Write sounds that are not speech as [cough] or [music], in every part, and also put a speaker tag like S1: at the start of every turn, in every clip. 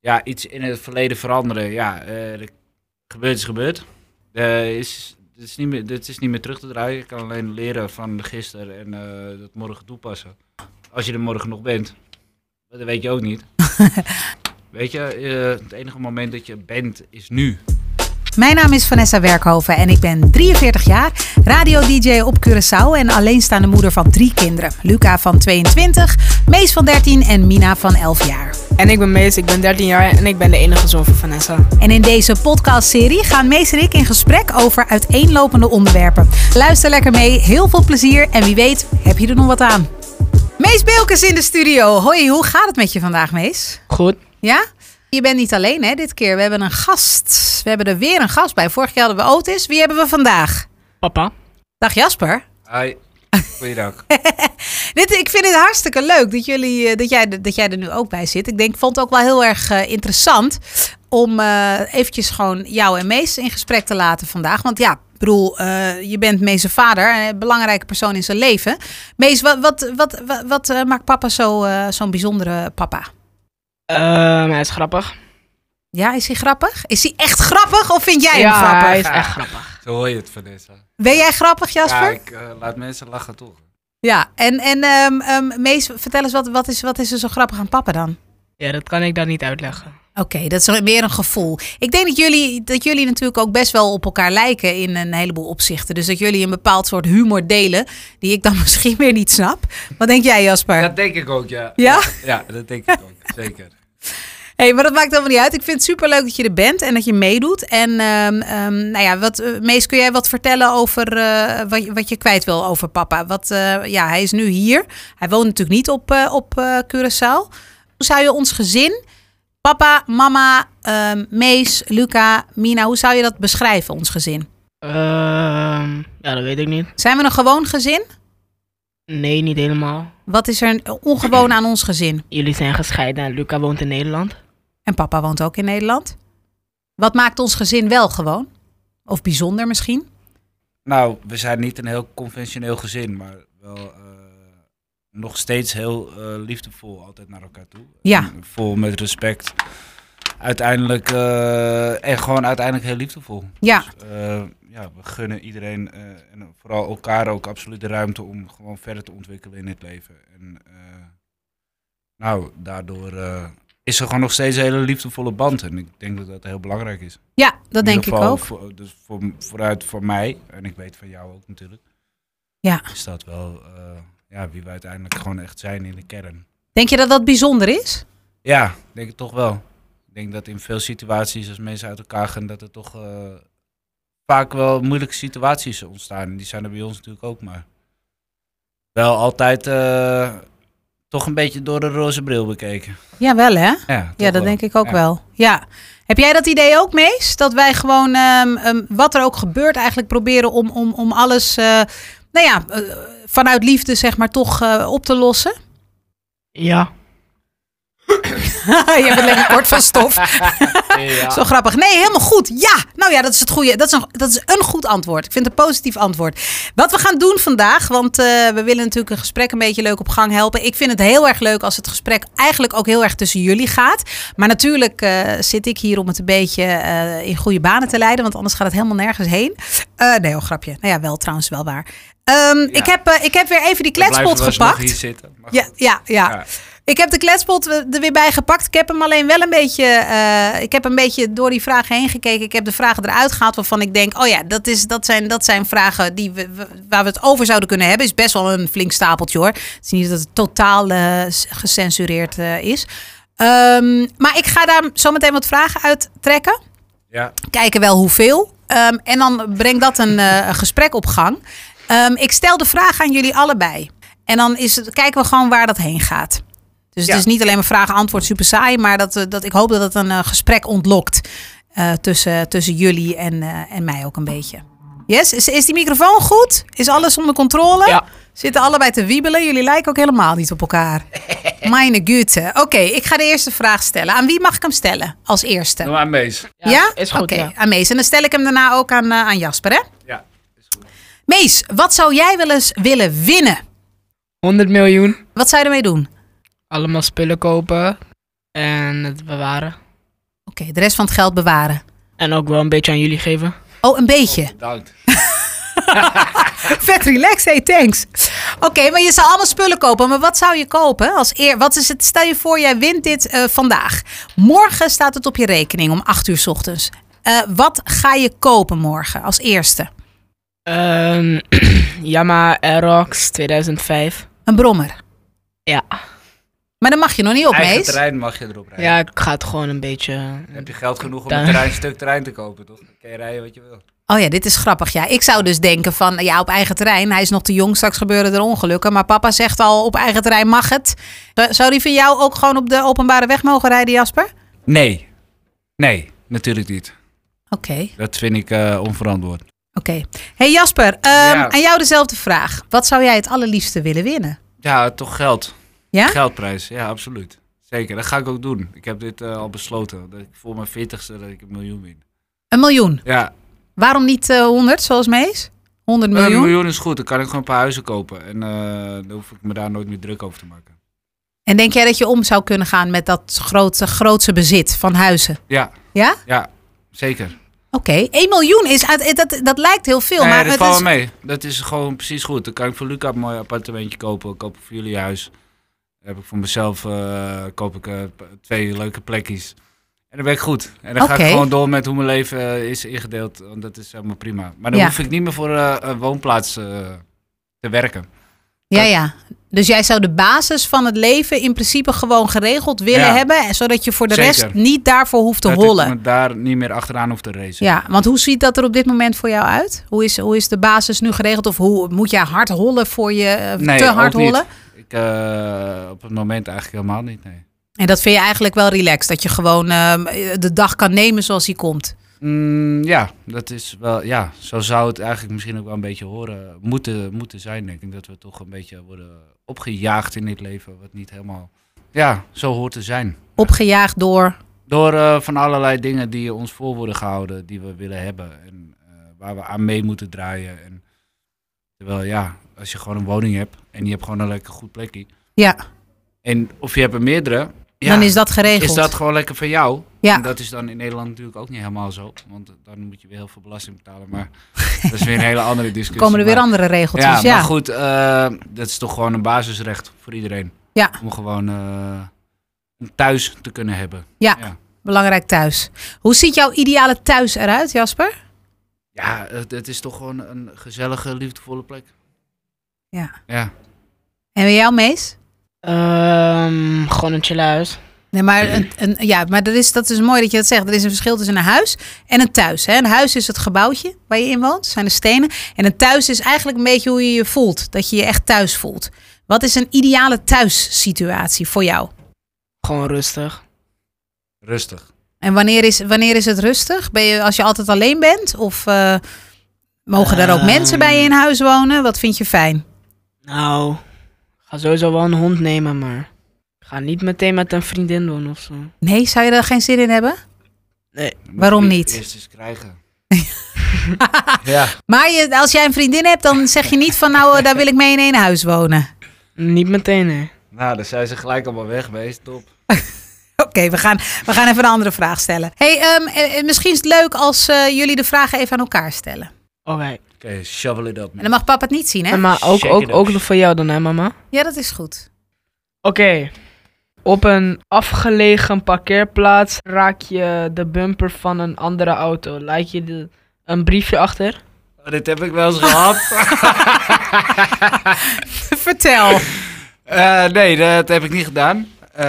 S1: ja, iets in het verleden veranderen. Ja, eh, er- gebeurd is gebeurd. Eh is, dit, is niet meer, dit is niet meer terug te draaien. Je kan alleen leren van gisteren en eh, dat morgen toepassen. Als je er morgen nog bent. Maar Dat weet je ook niet. weet je, eh, het enige moment dat je bent is nu.
S2: Mijn naam is Vanessa Werkhoven en ik ben 43 jaar, radio-dj op Curaçao en alleenstaande moeder van drie kinderen. Luca van 22, Mees van 13 en Mina van 11 jaar.
S3: En ik ben Mees, ik ben 13 jaar en ik ben de enige zoon van Vanessa.
S2: En in deze podcastserie gaan Mees en ik in gesprek over uiteenlopende onderwerpen. Luister lekker mee, heel veel plezier en wie weet heb je er nog wat aan. Mees Beelkens in de studio. Hoi, hoe gaat het met je vandaag, Mees?
S3: Goed.
S2: Ja? Je bent niet alleen hè, dit keer. We hebben een gast. We hebben er weer een gast bij. Vorig jaar hadden we Otis. Wie hebben we vandaag?
S3: Papa.
S2: Dag Jasper.
S1: Hoi, goeiedag.
S2: Dit, ik vind het hartstikke leuk dat, jullie, eh, dat, jij, dat jij er nu ook bij zit. Ik denk, vond het ook wel heel erg eh, interessant om eh eventjes gewoon jou en Mees in gesprek te laten vandaag. Want ja, ik bedoel, eh, je bent Mees' zijn vader, een belangrijke persoon in zijn leven. Mees, wat, wat, wat, wat, wat, eh, maakt papa zo, eh, zo'n bijzondere papa?
S3: Ehm, hij is grappig.
S2: Ja, is hij grappig? Is hij echt grappig of vind jij hem
S3: ja,
S2: grappig?
S3: hij is echt grappig.
S1: Zo hoor je het, Vanessa.
S2: Ben jij grappig, Jasper?
S1: Ja,
S2: Ja,
S1: ik eh, laat mensen lachen toch.
S2: en, en ehm, ehm, Mees, vertel eens, wat, wat, is, wat is er zo grappig aan papa dan?
S3: Ja, dat kan ik dan niet uitleggen.
S2: Oké, dat is meer een gevoel. Ik denk dat jullie, dat jullie natuurlijk ook best wel op elkaar lijken in een heleboel opzichten. Dus dat jullie een bepaald soort humor delen, die ik dan [laughs] misschien weer niet snap. Wat denk jij, Jasper?
S1: Dat denk ik ook, ja.
S2: Ja?
S1: Ja, dat denk ik ook, zeker.
S2: hey, maar dat maakt helemaal niet uit. Ik vind het superleuk dat je er bent en dat je meedoet. En ehm, ehm, nou ja, wat, eh, Mees, kun jij wat vertellen over eh, wat, je- wat je kwijt wil over papa? Wat, eh, ja, hij is nu hier. Hij woont natuurlijk niet op, eh, op eh, Curaçao. Hoe zou je ons gezin, papa, mama, ehm, Mees, Luca, Mina, hoe zou je dat beschrijven, ons gezin?
S3: Ehm, ja, dat weet ik niet.
S2: Zijn we een gewoon gezin?
S3: Nee, niet helemaal.
S2: Wat is er ongewoon aan ons gezin?
S3: Jullie zijn gescheiden en Luca woont in Nederland.
S2: En papa woont ook in Nederland. Wat maakt ons gezin wel gewoon? Of bijzonder misschien?
S1: Nou, we zijn niet een heel conventioneel gezin, maar wel eh, nog steeds heel eh, liefdevol altijd naar elkaar toe.
S2: Ja.
S1: En Vol met respect. Uiteindelijk, eh, en gewoon uiteindelijk heel liefdevol.
S2: Ja.
S1: Dus, eh, ja, we gunnen iedereen eh, en vooral elkaar ook absoluut de ruimte om gewoon verder te ontwikkelen in het leven. En eh, nou, daardoor eh, is er gewoon nog steeds een hele liefdevolle band. En ik denk dat dat heel belangrijk is.
S2: Ja, dat
S1: In
S2: denk ik
S1: ieder geval
S2: ook.
S1: voor- dus voor, vooruit voor mij, en ik weet van jou ook natuurlijk.
S2: Ja.
S1: Is dat wel eh, ja, wie we uiteindelijk gewoon echt zijn in de kern.
S2: Denk je dat dat bijzonder is?
S1: Ja, ik denk ik toch wel. Ik denk dat in veel situaties als mensen uit elkaar gaan, dat er toch eh, vaak wel moeilijke situaties ontstaan. En Die zijn er bij ons natuurlijk ook, maar wel altijd eh, toch een beetje door de roze bril bekeken.
S2: Ja, wel hè?
S1: Ja,
S2: Ja, dat denk ik ook wel. Ja. Heb jij dat idee ook, Mees? Dat wij gewoon, ehm, ehm, wat er ook gebeurt, eigenlijk proberen om, om, om alles, eh, nou ja, eh, vanuit liefde zeg maar toch eh, op te lossen?
S3: Ja.
S2: [laughs] Je bent lekker kort van stof.
S1: [laughs]
S2: Zo grappig. Nee, helemaal goed. Ja, nou ja, dat is het goede. Dat is een, dat is een goed antwoord. Ik vind het een positief antwoord. Wat we gaan doen vandaag, want eh, we willen natuurlijk een gesprek een beetje leuk op gang helpen. Ik vind het heel erg leuk als het gesprek eigenlijk ook heel erg tussen jullie gaat. Maar natuurlijk eh, zit ik hier om het een beetje eh, in goede banen te leiden, want anders gaat het helemaal nergens heen. Eh, nee, oh grapje. Nou ja, wel trouwens, wel waar. Ehm, ik, heb, eh, ik heb weer even die kletspot
S1: Hier
S2: gepakt.
S1: zitten, maar
S2: Ja, ja, ja.
S1: Ja.
S2: Ik heb de kletspot eh, er weer bij gepakt. Ik heb hem alleen wel een beetje. eh, ik heb een beetje door die vragen heen gekeken. Ik heb de vragen eruit gehaald waarvan ik denk. Oh ja, dat, is, dat, zijn, dat zijn vragen die we, we- waar we het over zouden kunnen hebben. Is best wel een flink stapeltje hoor. Het is niet dat het totaal eh, s- gecensureerd eh, is. Ehm, maar ik ga daar zometeen wat vragen uit trekken
S1: Ja,
S2: kijken wel hoeveel. Ehm, en dan brengt dat een eh, een gesprek op gang. Ehm, ik stel de vraag aan jullie allebei. En dan is het, kijken we gewoon waar dat heen gaat. Dus
S1: Ja.
S2: het is niet alleen maar vraag-antwoord super saai. Maar dat, eh, dat, ik hoop dat het een eh, gesprek ontlokt. eh, tussen, tussen jullie en, eh, en mij ook een beetje. Yes, is, is die microfoon goed? Is alles onder controle?
S3: Ja.
S2: Zitten allebei te wiebelen. Jullie lijken ook helemaal niet op elkaar. Meine Güte. Oké, ik ga de eerste vraag stellen. Aan wie mag ik hem stellen als eerste?
S1: doe maar mees.
S2: Ja?
S3: Is goed,
S2: Oké,
S3: ja.
S2: aan Mees. En dan stel ik hem daarna ook aan, eh, aan Jasper, hè?
S1: Ja, is goed.
S2: Mees, wat zou jij wel eens willen winnen?
S3: 100 miljoen.
S2: Wat zou je ermee doen?
S3: Allemaal spullen kopen en het bewaren.
S2: de rest van het geld bewaren.
S3: En ook wel een beetje aan jullie geven.
S2: Oh, een beetje.
S1: Bedankt. Oh.
S2: Vet relaxed, hey, thanks. Oké, maar je zou allemaal spullen kopen. Maar wat zou je kopen als eer? Wat is het? Stel je voor, jij wint dit eh, vandaag. Morgen staat het op je rekening om 8 uur 's ochtends. Eh, wat ga je kopen morgen als eerste?
S3: Ehm [clears throat] Yamaha Aerox 2005.
S2: Een brommer.
S3: Ja.
S2: Maar dan mag je nog niet op,
S1: Eigen
S2: Mees.
S1: terrein mag je erop rijden.
S3: ja, ik ga het gewoon een beetje...
S1: Dan heb je geld genoeg om
S3: Daar.
S1: een terrein, stuk terrein te kopen, toch? Dan kan je rijden wat je wil.
S2: Oh ja, dit is grappig. Ja, ik zou dus denken van, ja, op eigen terrein. Hij is nog te jong, straks gebeuren er ongelukken. Maar papa zegt al, op eigen terrein mag het. Eh, Zou die van jou ook gewoon op de openbare weg mogen rijden, Jasper? Oké.
S1: Nee. Nee, natuurlijk niet. Dat vind ik eh, onverantwoord.
S2: Oké. Hey Jasper, ehm,
S1: Ja.
S2: aan jou dezelfde vraag. Wat zou jij het allerliefste willen winnen?
S1: Ja, toch geld.
S2: Ja?
S1: Geldprijs, ja, absoluut. Zeker, dat ga ik ook doen. Ik heb dit eh, al besloten. Dat ik voor mijn 40ste dat ik een miljoen win.
S2: Een miljoen.
S1: Ja,
S2: Waarom niet eh, 100, zoals Mees? 100
S1: een
S2: miljoen.
S1: miljoen is goed. Dan kan ik gewoon een paar huizen kopen. En eh, dan hoef ik me daar nooit meer druk over te maken.
S2: En denk jij dat je om zou kunnen gaan met dat grote, grootse bezit van huizen?
S1: Ja,
S2: Ja?
S1: ja, zeker.
S2: Oké. 1 miljoen is uit, dat, dat lijkt heel veel,
S1: Nee,
S2: maar
S1: dat
S2: het
S1: valt
S2: is...
S1: wel mee. Dat is gewoon precies goed. Dan kan ik voor Luca een mooi appartementje kopen. Koop ik voor jullie huis. Dan heb ik voor mezelf eh, koop ik, eh, p- twee leuke plekjes. En dan ben ik goed. En dan ga
S2: Oké.
S1: ik gewoon door met hoe mijn leven eh, is ingedeeld. Want dat is helemaal prima. Maar dan
S2: Ja.
S1: hoef ik niet meer voor eh, een woonplaats eh, te werken.
S2: Ja, ja. Dus jij zou de basis van het leven in principe gewoon geregeld willen
S1: Ja.
S2: hebben, zodat je voor de
S1: Zeker.
S2: rest niet daarvoor hoeft te
S1: dat
S2: hollen.
S1: ik me daar niet meer achteraan hoef te racen.
S2: Ja, want hoe ziet dat er op dit moment voor jou uit? Hoe is, hoe is de basis nu geregeld? Of hoe moet jij hard hollen voor je eh,
S1: Nee,
S2: te hard
S1: ook niet.
S2: hollen?
S1: Ik, eh, op het moment eigenlijk helemaal niet, nee.
S2: En dat vind je eigenlijk wel relaxed. Dat je gewoon ehm, de dag kan nemen zoals die komt.
S1: Mm, ja, dat is wel, ja, zo zou het eigenlijk misschien ook wel een beetje horen, moeten, moeten zijn, denk ik. Dat we toch een beetje worden opgejaagd in dit leven, wat niet helemaal, ja, zo hoort te zijn.
S2: Opgejaagd door.
S1: Door eh, van allerlei dingen die ons voor worden gehouden, die we willen hebben en eh, waar we aan mee moeten draaien. En, terwijl, ja, als je gewoon een woning hebt en je hebt gewoon een lekker goed plekje.
S2: Ja,
S1: En of je hebt er meerdere, ja,
S2: dan is dat geregeld.
S1: is dat gewoon lekker van jou.
S2: Ja.
S1: En dat is dan in Nederland natuurlijk ook niet helemaal zo. Want dan moet je weer heel veel belasting betalen. Maar [laughs] dat is weer een hele andere discussie.
S2: Komen er weer
S1: maar,
S2: andere regeltjes? Ja,
S1: Ja, maar goed, eh, dat is toch gewoon een basisrecht voor iedereen.
S2: Ja.
S1: Om gewoon eh, een thuis te kunnen hebben.
S2: belangrijk thuis. Hoe ziet jouw ideale thuis eruit, Jasper?
S1: Ja, het, het is toch gewoon een gezellige, liefdevolle plek.
S2: Ja.
S1: Ja,
S2: En bij jou, Mees?
S3: Ehm, gewoon een chill huis.
S2: Nee, maar, een, een- ja, maar dat, is, dat is mooi dat je dat zegt. Er is een verschil tussen een huis en een thuis. Hè? Een huis is het gebouwtje waar je in woont, zijn de stenen. En een thuis is eigenlijk een beetje hoe je je voelt. Dat je je echt thuis voelt. Wat is een ideale thuissituatie voor jou?
S3: Gewoon rustig.
S1: rustig.
S2: En wanneer is, wanneer is het rustig? Ben je als je altijd alleen bent? Of eh, mogen daar ook
S3: Ehm.
S2: mensen bij je in huis wonen? Wat vind je fijn?
S3: Nou, ik ga sowieso wel een hond nemen, maar... Ik ga niet meteen met een vriendin doen of zo.
S2: Nee, zou je daar geen zin in hebben?
S1: Dan moet
S2: Waarom
S1: je
S2: niet?
S1: Eerst eens
S2: [laughs]
S1: krijgen. ja.
S2: Maar je, als jij een vriendin hebt, dan zeg je niet van nou, eh, daar wil ik mee in één huis wonen.
S3: Niet meteen, hè.
S1: Nou, dan zijn ze gelijk allemaal weg geweest. Top.
S2: [laughs] Oké, we, gaan, we gaan even een andere vraag stellen. Hey, ehm, eh, eh, misschien is het leuk als eh, jullie de vragen even aan elkaar stellen.
S3: Oké.
S1: Oké, shovel it up.
S2: En
S1: man.
S2: dan mag papa het niet zien, hè?
S3: Maar ook,
S1: Check
S3: ook,
S1: it
S3: ook
S1: out.
S3: voor jou dan, hè, mama?
S2: Ja, dat is goed. [laughs]
S3: Oké. Op een afgelegen parkeerplaats raak je de bumper van een andere auto. Laat je de- een briefje achter?
S1: Oh, dit heb ik wel eens gehad.
S2: [laughs] Vertel.
S1: Eh, nee, dat heb ik niet gedaan. Eh,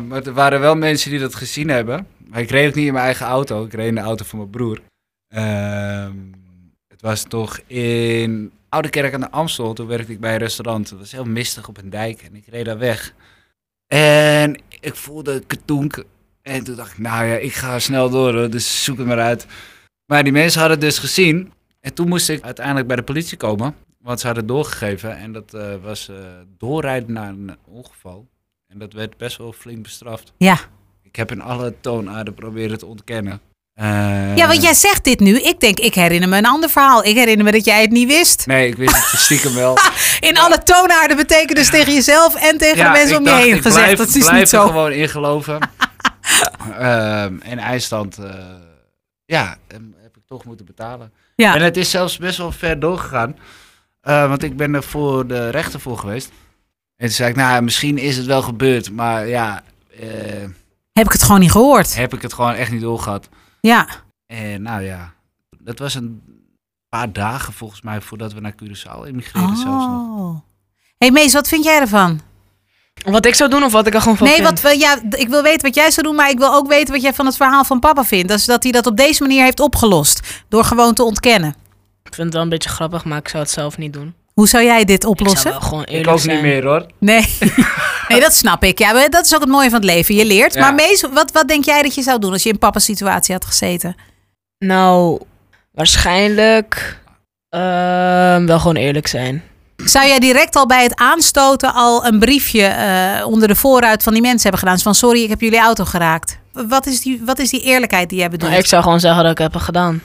S1: maar er waren wel mensen die dat gezien hebben. Maar ik reed ook niet in mijn eigen auto. Ik reed in de auto van mijn broer. Ehm, het was toch in Oude Kerk aan de Amstel. Toen werkte ik bij een restaurant. Het was heel mistig op een dijk. En ik reed daar weg. En ik voelde katoenk. En toen dacht ik, nou ja, ik ga snel door hoor. Dus zoek het maar uit. Maar die mensen hadden het dus gezien. En toen moest ik uiteindelijk bij de politie komen. Want ze hadden doorgegeven en dat eh, was eh, doorrijden naar een ongeval. En dat werd best wel flink bestraft.
S2: Ja.
S1: Ik heb in alle toonaarden proberen te ontkennen. Eh,
S2: Ja, want jij zegt dit nu. Ik denk, ik herinner me een ander verhaal. Ik herinner me dat jij het niet
S1: [laughs]
S2: wist.
S1: Nee, ik wist het stiekem
S2: [laughs]
S1: wel.
S2: In alle toonaarden betekent dus tegen jezelf en tegen de mensen
S1: ik
S2: om je
S1: dacht,
S2: heen
S1: ik
S2: gezegd.
S1: blijf-
S2: dat is
S1: blijf
S2: niet
S1: er
S2: zo. [laughs]
S1: gewoon in geloven. Ehm, en eindstand, eh, ja, hem heb ik toch moeten betalen.
S2: Ja.
S1: En het is zelfs best wel ver doorgegaan. eh, want ik ben er voor de rechter voor geweest. En toen zei ik, nou, misschien is het wel gebeurd. Maar ja, eh,
S2: Heb ik het gewoon niet gehoord.
S1: heb ik het gewoon echt niet doorgehad.
S2: Ja.
S1: En nou ja, dat was een paar dagen volgens mij voordat we naar Curaçao emigreerden
S2: Oh,
S1: zelfs nog.
S2: Hey Mees, wat vind jij ervan?
S3: Wat ik zou doen of wat ik er gewoon van
S2: nee,
S3: vind?
S2: wat we, ja, d- ik wil weten wat jij zou doen, maar ik wil ook weten wat jij van het verhaal van papa vindt. Dat is dat hij dat op deze manier heeft opgelost. Door gewoon te ontkennen.
S3: Ik vind het wel een beetje grappig, maar ik zou het zelf niet doen.
S2: Hoe zou jij dit
S3: Ik
S2: oplossen?
S3: zou wel gewoon eerlijk
S1: Ik ook
S3: zijn.
S1: niet meer hoor.
S3: [laughs]
S2: Nee. nee, dat snap ik. Ja, maar dat is ook het mooie van het leven. Je leert.
S1: Ja.
S2: Maar Mees, wat, wat denk jij dat je zou doen als je in papa's situatie had gezeten?
S3: Nou, waarschijnlijk ehm, wel gewoon eerlijk zijn.
S2: Zou jij direct al bij het aanstoten al een briefje eh, onder de voorruit van die mensen hebben gedaan? Zo Van sorry, ik heb jullie auto geraakt. Wat is die, wat is die eerlijkheid die jij bedoelt?
S3: Nou, ik zou gewoon zeggen dat ik het heb gedaan.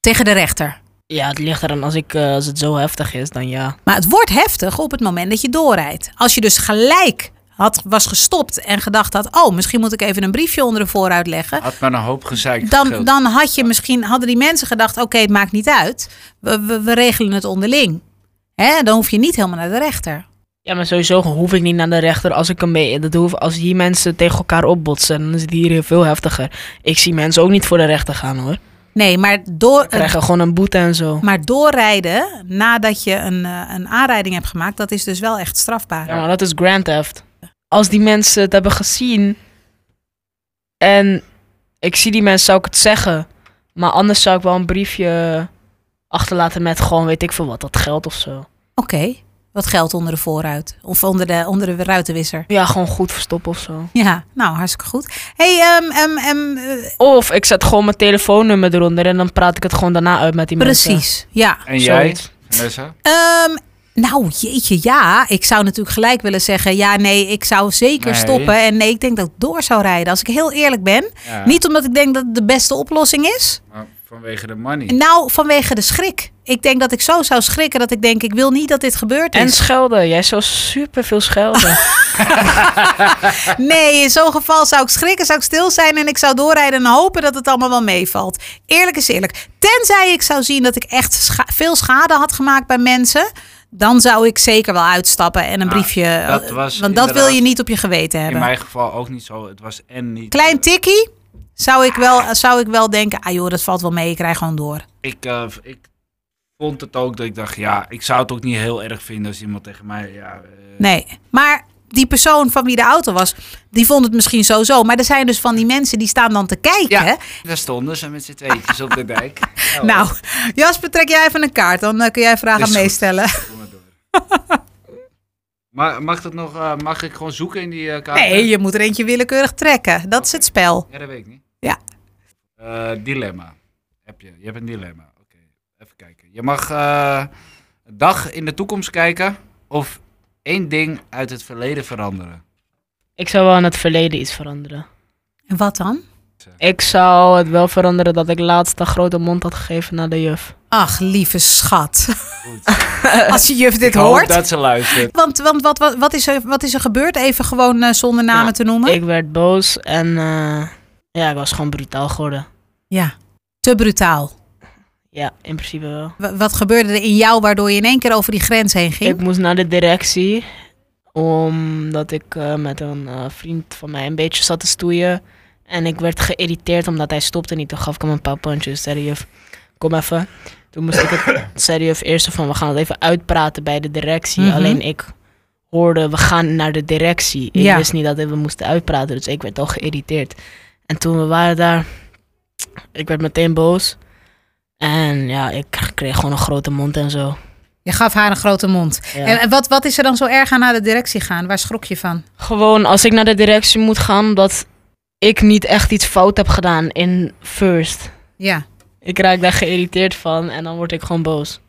S2: Tegen de rechter.
S3: Ja, het ligt eraan als, ik, eh, als het zo heftig is, dan ja.
S2: Maar het wordt heftig op het moment dat je doorrijdt. Als je dus gelijk had, was gestopt en gedacht had... oh, misschien moet ik even een briefje onder de voorruit leggen...
S1: Had maar een hoop gezeik.
S2: Eh, Dan,
S1: gescheeld.
S2: dan had je misschien, hadden die mensen gedacht... oké, het maakt niet uit. We, we, we regelen het onderling. Hè? Dan hoef je niet helemaal naar de rechter.
S3: Ja, maar sowieso hoef ik niet naar de rechter als ik hem mee. Dat hoef, als die mensen tegen elkaar opbotsen, dan is het hier heel veel heftiger. Ik zie mensen ook niet voor de rechter gaan hoor.
S2: Nee, maar door, het
S3: Krijgen gewoon een boete en zo.
S2: Maar doorrijden nadat je een, eh, een aanrijding hebt gemaakt, dat is dus wel echt strafbaar.
S3: Ja, maar Nou, dat is Grand Theft. Als die mensen het hebben gezien en ik zie die mensen, zou ik het zeggen. Maar anders zou ik wel een briefje achterlaten met gewoon weet ik veel wat, dat geld of zo.
S2: Oké, wat geld onder de voorruit of onder de, onder de ruitenwisser.
S3: Ja, gewoon goed verstoppen of zo.
S2: Ja, nou hartstikke goed. hey, ehm, ehm, ehm, eh,
S3: Of ik zet gewoon mijn telefoonnummer eronder en dan praat ik het gewoon daarna uit met die mensen.
S2: precies, ja.
S1: En jij,
S3: Zoiets.
S1: Vanessa?
S2: [laughs] Ehm, nou, jeetje, ja. Ik zou natuurlijk gelijk willen zeggen, ja, nee, ik zou zeker
S1: Nee.
S2: stoppen. En nee, ik denk dat ik door zou rijden, als ik heel eerlijk ben.
S1: Ja,
S2: Niet omdat ik denk dat het de beste oplossing is.
S1: maar vanwege de money.
S2: Nou, vanwege de schrik. Ik denk dat ik zo zou schrikken dat ik denk, ik wil niet dat dit gebeurt.
S3: En schelden. Jij zou super veel schelden.
S2: Nee, in zo'n geval zou ik schrikken, zou ik stil zijn en ik zou doorrijden en hopen dat het allemaal wel meevalt. Eerlijk is eerlijk. Tenzij ik zou zien dat ik echt scha- veel schade had gemaakt bij mensen, dan zou ik zeker wel uitstappen en een
S1: Ja,
S2: briefje.
S1: Ah,
S2: eh,
S1: dat was
S2: want dat wil je
S1: inderdaad-
S2: niet op je geweten
S1: In
S2: hebben.
S1: mijn geval ook niet zo. Het was en niet.
S2: Klein tikkie zou ik, wel, zou ik wel denken, ah joh, dat valt wel mee, ik rij gewoon door.
S1: ik, eh, ik vond het ook dat ik dacht, ja, ik zou het ook niet heel erg vinden als iemand tegen mij. Ja, eh,
S2: Nee, maar die persoon van wie de auto was, die vond het misschien sowieso. Maar er zijn dus van die mensen die staan dan te kijken.
S1: Ja. daar stonden ze met z'n tweetjes op de dijk.
S2: [laughs] Nou, Jasper, trek jij even een kaart. Dan eh, kun jij vragen
S1: Oh. Is
S2: aan
S1: goed.
S2: meestellen.
S1: doe
S2: [laughs]
S1: maar door. maar mag, dat nog, eh, mag ik gewoon zoeken in die eh kaart?
S2: Nee, je moet er eentje willekeurig trekken. Dat is het spel.
S1: Ja, dat weet ik niet.
S2: Ja.
S1: Eh, dilemma. Heb je. Je hebt een dilemma. Oké, even kijken. Je mag eh, een dag in de toekomst kijken of één ding uit het verleden veranderen.
S3: ik zou wel aan het verleden iets veranderen.
S2: En wat dan?
S3: Ik zou het wel veranderen dat ik laatst een grote mond had gegeven naar de juf.
S2: Ach, lieve
S1: [laughs]
S2: schat.
S1: Goed.
S2: Als je juf [laughs]
S1: Ik
S2: dit
S1: hoop
S2: hoort.
S1: dat ze luistert.
S2: Want, want wat, wat, wat, is er, wat is er gebeurd? Even gewoon eh, zonder namen
S3: Nou,
S2: te noemen.
S3: Ik werd boos en eh, ja, ik was gewoon brutaal geworden.
S2: Ja, te brutaal.
S3: Ja, in principe wel.
S2: W- wat gebeurde er in jou waardoor je in één keer over die grens heen ging?
S3: Ik moest naar de directie omdat ik eh, met een eh, vriend van mij een beetje zat te stoeien. En ik werd geïrriteerd omdat hij stopte niet. Toen gaf ik hem een paar puntjes. Zei de juf, kom even. Toen moest ik
S2: [coughs]
S3: het, zei de juf eerst van, we gaan het even uitpraten bij de directie.
S2: Mhm.
S3: Alleen ik hoorde, we gaan naar de directie. Ik
S2: Ja.
S3: wist niet dat we moesten uitpraten, dus ik werd al geïrriteerd. En toen we waren daar, ik werd meteen boos. En ja, ik kreeg gewoon een grote mond en zo.
S2: Je gaf haar een grote mond.
S3: Ja.
S2: En en wat, wat is er dan zo erg aan naar de directie gaan? Waar schrok je van?
S3: Gewoon als ik naar de directie moet gaan, omdat ik niet echt iets fout heb gedaan in first.
S2: Ja.
S3: Ik raak daar geïrriteerd van en dan word ik gewoon boos.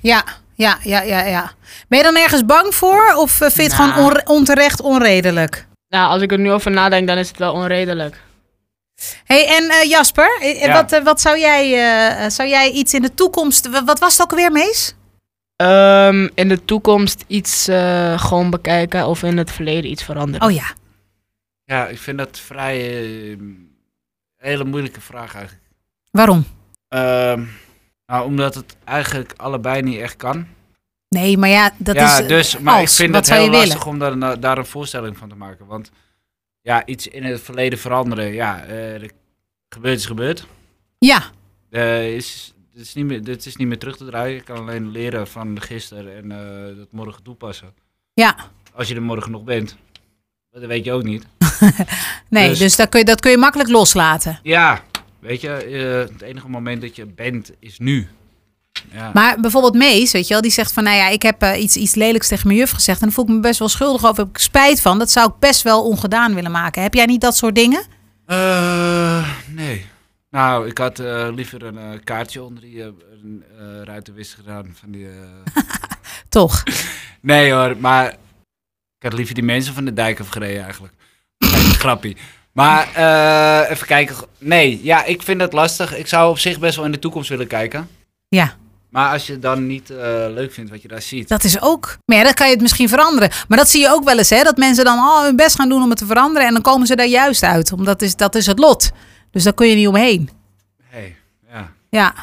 S2: Ja, ja, ja, ja, ja. Ben je dan ergens bang voor? Of eh, vind je het
S3: Nou.
S2: gewoon onre- onterecht, onredelijk?
S3: Nou, als ik er nu over nadenk, dan is het wel onredelijk.
S2: hey, en eh, Jasper, eh, eh,
S1: Ja.
S2: wat, eh, wat zou jij, eh, eh, zou jij iets in de toekomst... wa- Wat was het ook alweer, Mees?
S3: Ehm, in de toekomst iets eh, gewoon bekijken of in het verleden iets veranderen.
S2: Oh ja,
S1: Ja, ik vind dat vrij... eh, een hele moeilijke vraag eigenlijk.
S2: Waarom?
S1: Ehm, nou, omdat het eigenlijk allebei niet echt kan.
S2: Nee, maar ja, dat
S1: ja,
S2: is. eh,
S1: dus, maar
S2: als.
S1: ik vind
S2: Wat
S1: het
S2: zou
S1: heel
S2: je
S1: lastig
S2: willen?
S1: om daar, nou, daar een voorstelling van te maken. Want ja, iets in het verleden veranderen, ja, eh gebeurd is gebeurd.
S2: Ja,
S1: Eh is, dit, is niet meer, dit is niet meer terug te draaien. Je kan alleen leren van gisteren en eh, dat morgen toepassen.
S2: ja.
S1: Als je er morgen nog bent. Maar Dat weet je ook niet.
S2: Nee, dus,
S1: Dus-
S2: dat, kun je, dat kun je makkelijk loslaten.
S1: Ja, weet je, eh, het enige moment dat je bent is nu. Ja.
S2: Maar bijvoorbeeld Mees, weet je wel, die zegt van... nou ja, ik heb eh, iets, iets lelijks tegen mijn juf gezegd... en daar voel ik me best wel schuldig over, heb ik spijt van. Dat zou ik best wel ongedaan willen maken. Heb jij niet dat soort dingen?
S1: Eh, nee. Nou, ik had eh, liever een eh, kaartje onder die eh, een, eh, ruitenwist gedaan van die... eh, [laughs]
S2: Toch?
S1: Nee hoor, maar ik had liever die mensen van de dijk afgereden eigenlijk. Kleine [laughs] grappie. Maar eh, even kijken. Nee, ja, ik vind dat lastig. Ik zou op zich best wel in de toekomst willen kijken.
S2: Ja,
S1: Maar als je dan niet eh, leuk vindt wat je daar ziet.
S2: dat is ook... Maar ja, dan kan je het misschien veranderen. Maar dat zie je ook wel eens, hè? Dat mensen dan al hun best gaan doen om het te veranderen... en dan komen ze daar juist uit. Omdat is, dat is het lot. Dus daar kun je niet omheen.
S1: Hey, ja.
S2: Ja,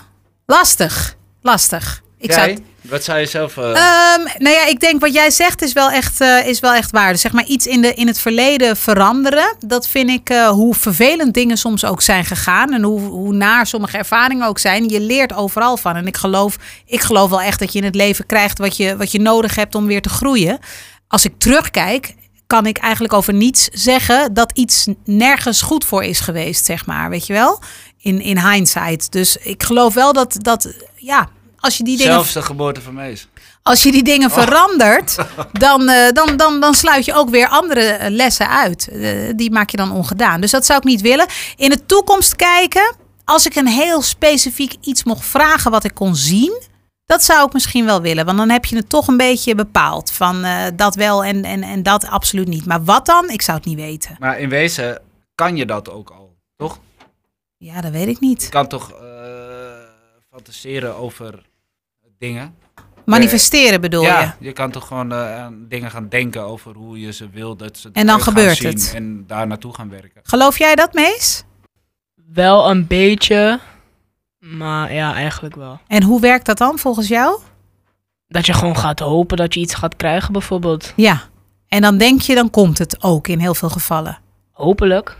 S2: lastig. Lastig. Ik
S1: Jij?
S2: zou het-
S1: Wat zou je zelf... eh,
S2: Ehm, nou ja, ik denk wat jij zegt is wel echt, eh, is wel echt waar. Dus zeg maar iets in, de, in het verleden veranderen. Dat vind ik eh, hoe vervelend dingen soms ook zijn gegaan. En hoe, hoe naar sommige ervaringen ook zijn. Je leert overal van. En ik geloof, ik geloof wel echt dat je in het leven krijgt wat je, wat je nodig hebt om weer te groeien. Als ik terugkijk, kan ik eigenlijk over niets zeggen dat iets nergens goed voor is geweest, zeg maar. Weet je wel? In, in hindsight. Dus ik geloof wel dat, dat ja, als je die dingen
S1: zelfs de geboorte van Mees.
S2: als je die dingen verandert, dan, eh, dan, dan, dan sluit je ook weer andere eh, lessen uit. Eh, die maak je dan ongedaan. Dus dat zou ik niet willen. In de toekomst kijken, als ik een heel specifiek iets mocht vragen wat ik kon zien. Dat zou ik misschien wel willen, want dan heb je het toch een beetje bepaald. Van eh, dat wel en, en, en dat absoluut niet. Maar wat dan? Ik zou het niet weten.
S1: Maar in wezen kan je dat ook al, toch?
S2: Ja, dat weet ik niet.
S1: Je kan toch eh, fantaseren over dingen?
S2: Manifesteren bedoel
S1: ja,
S2: je?
S1: kan toch gewoon eh, aan dingen gaan denken over hoe je ze wil dat ze
S2: En dan
S1: eruit gaan
S2: gebeurt
S1: zien
S2: het.
S1: En daar naartoe gaan werken.
S2: Geloof jij dat, Mees?
S3: Wel een beetje, maar ja, eigenlijk wel.
S2: En hoe werkt dat dan volgens jou?
S3: Dat je gewoon gaat hopen dat je iets gaat krijgen, bijvoorbeeld.
S2: Ja. En dan denk je, dan komt het ook in heel veel gevallen.
S3: Hopelijk.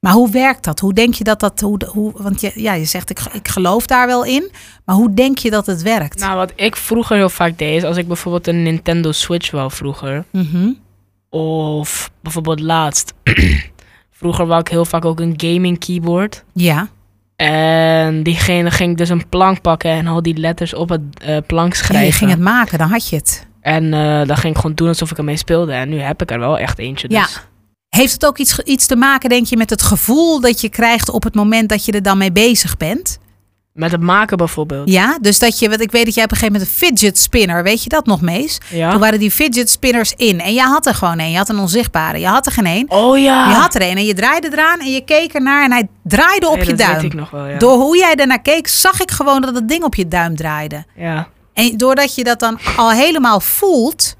S2: Maar hoe werkt dat? Hoe denk je dat dat... Hoe, hoe, want je, ja, je zegt, ik, ik geloof daar wel in. Maar hoe denk je dat het werkt?
S3: Nou, wat ik vroeger heel vaak deed, is als ik bijvoorbeeld een Nintendo Switch wou vroeger.
S2: Mhm.
S3: Of bijvoorbeeld laatst. [clears throat] vroeger wou ik heel vaak ook een gaming keyboard.
S2: Ja.
S3: En diegene ging ik dus een plank pakken en al die letters op het eh, plank
S2: En je
S3: schrijven.
S2: ging het maken, dan had je het.
S3: En eh, dan ging ik gewoon doen alsof ik ermee speelde. En nu heb ik er wel echt eentje. Dus.
S2: Ja. Heeft het ook iets, ge- iets te maken, denk je, met het gevoel dat je krijgt op het moment dat je er dan mee bezig bent?
S3: Met het maken bijvoorbeeld.
S2: Ja, dus dat je, want ik weet dat jij op een gegeven moment een fidget spinner, weet je dat nog, Mees? Toen
S3: Ja.
S2: waren die fidget spinners in en jij had er gewoon een, je had een onzichtbare, je had er geen één.
S3: Oh ja.
S2: Je had er een en je draaide eraan en je keek ernaar en hij draaide op
S3: Nee,
S2: je
S3: dat weet
S2: duim.
S3: ik nog wel, ja.
S2: Door hoe jij ernaar keek, zag ik gewoon dat het ding op je duim draaide.
S3: ja.
S2: En doordat je dat dan al helemaal voelt,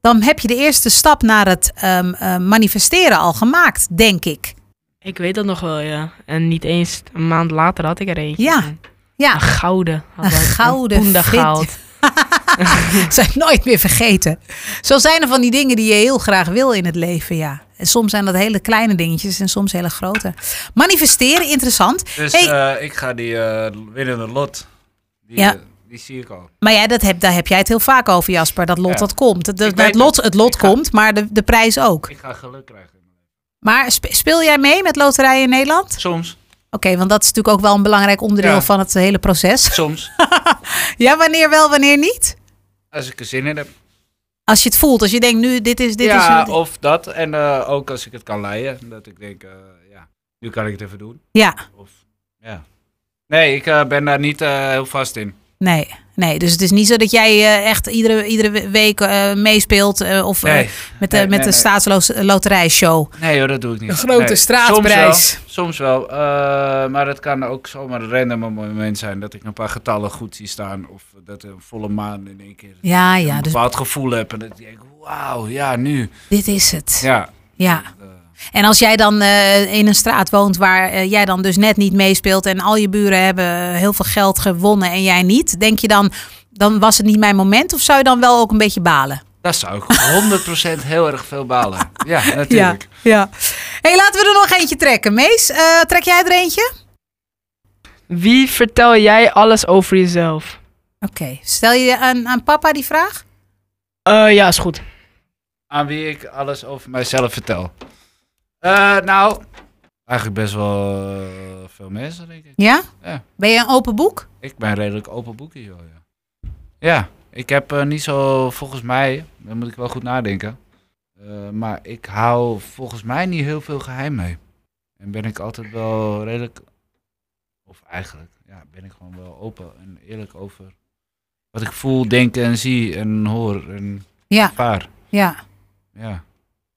S2: dan heb je de eerste stap naar het ehm, eh, manifesteren al gemaakt, denk
S1: [laughs]
S2: ik. [laughs]
S3: Ik weet dat nog wel, ja. En niet eens een maand later had ik er eentje.
S2: Ja.
S3: Een
S2: Ja,
S3: gouden. Had
S2: Een
S3: ik,
S2: gouden
S3: Een poender
S2: fit.
S3: gehaald.
S2: zijn nooit meer vergeten. Zo zijn er van die dingen die je heel graag wil in het leven, ja. En soms zijn dat hele kleine dingetjes en soms hele grote. Manifesteren, interessant.
S1: Dus
S2: Hey.
S1: eh, ik ga die eh, winnende lot, die,
S2: Ja.
S1: eh, die zie ik al.
S2: Maar ja, dat heb, daar heb jij het heel vaak over, Jasper. Dat lot
S1: Ja.
S2: dat komt. Dat, dat-
S1: Ik weet
S2: het lot,
S1: het.
S2: het lot
S1: Ik ga-
S2: komt, maar de, de prijs ook.
S1: Ik ga geluk krijgen.
S2: Maar spe- speel jij mee met loterijen in Nederland?
S1: Soms,
S2: Oké, want dat is natuurlijk ook wel een belangrijk onderdeel
S1: Ja.
S2: van het eh, hele proces. [laughs]
S1: soms.
S2: ja, wanneer wel, wanneer niet?
S1: Als ik er zin in heb.
S2: Als je het voelt, als je denkt nu, dit is... Dit
S1: ja,
S2: is een-
S1: of dat. En eh, ook als ik het kan leiden. Dat ik denk, eh, ja, nu kan ik het even doen.
S2: ja,
S1: Of, ja. Nee, ik eh, ben daar niet eh, heel vast in.
S2: nee, nee. Dus het is niet zo dat jij eh, echt iedere, iedere week eh, meespeelt eh, of eh,
S1: Nee,
S2: met, de
S1: nee,
S2: met
S1: nee,
S2: de
S1: nee.
S2: staatsloterijshow.
S1: nee hoor, dat doe ik niet.
S2: Een grote
S1: Nee.
S2: straatprijs.
S1: Soms wel, soms wel eh, maar het kan ook zomaar een random moment zijn dat ik een paar getallen goed zie staan. Of dat een volle maan in één keer
S2: Ja, ja,
S1: een
S2: dus
S1: bepaald gevoel heb. En dat ik denk, wauw, ja, nu.
S2: dit is het.
S1: Ja.
S2: Ja.
S1: Eh,
S2: En als jij dan eh, in een straat woont waar eh, jij dan dus net niet meespeelt en al je buren hebben eh, heel veel geld gewonnen en jij niet, denk je dan, dan was het niet mijn moment of zou je dan wel ook een beetje balen?
S1: Daar zou ik 100% heel erg veel balen.
S2: [laughs]
S1: Ja, natuurlijk.
S2: ja. hey, laten we er nog eentje trekken. Mees, eh, trek jij er eentje?
S3: Wie vertel jij alles over jezelf?
S2: Oké, stel je aan, aan papa die vraag?
S3: Eh, ja, is goed.
S1: Aan wie ik alles over mijzelf vertel. Eh, nou, eigenlijk best wel eh, veel mensen, denk ik.
S2: Ja?
S1: Ja.
S2: Ben je een open boek?
S1: Ik ben redelijk open boekje, joh. Ja, ja ik heb eh, niet zo, volgens mij, daar moet ik wel goed nadenken. Eh, maar ik hou volgens mij niet heel veel geheim mee. En ben ik altijd wel redelijk, of eigenlijk, ja, ben ik gewoon wel open en eerlijk over wat ik voel, denk en zie en hoor en
S2: Ja,
S1: ervaar.
S2: ja.
S1: Ja.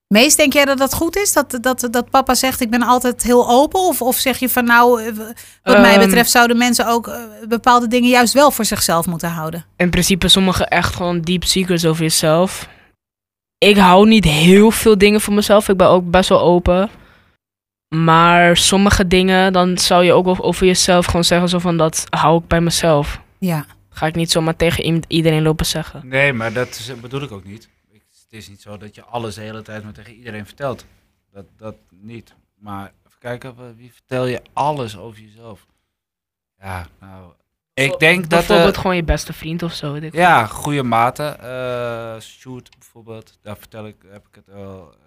S2: Mees, denk jij dat dat goed is? Dat, dat, dat papa zegt, ik ben altijd heel open? Of, of zeg je van, nou, eh, wat mij
S3: Ehm.
S2: betreft zouden mensen ook eh, bepaalde dingen juist wel voor zichzelf moeten houden?
S3: In principe sommige echt gewoon deep secrets over jezelf. Ik hou niet heel veel dingen voor mezelf. Ik ben ook best wel open. Maar sommige dingen, dan zou je ook wel over jezelf gewoon zeggen zo van dat hou ik bij mezelf.
S2: Ja.
S3: Ga ik niet zomaar tegen iemand- iedereen lopen zeggen.
S1: Nee, maar dat is- bedoel ik ook niet. Ik, het is niet zo dat je alles de hele tijd maar tegen iedereen vertelt. Dat, dat niet. Maar even kijken, wa- wie vertel je alles over jezelf? Ja, nou... Ik denk dat... eh,
S3: Bijvoorbeeld gewoon je beste vriend of zo. weet ik.
S1: ja, goede mate. Eh shoot bijvoorbeeld, daar vertel ik, heb ik het wel... eh,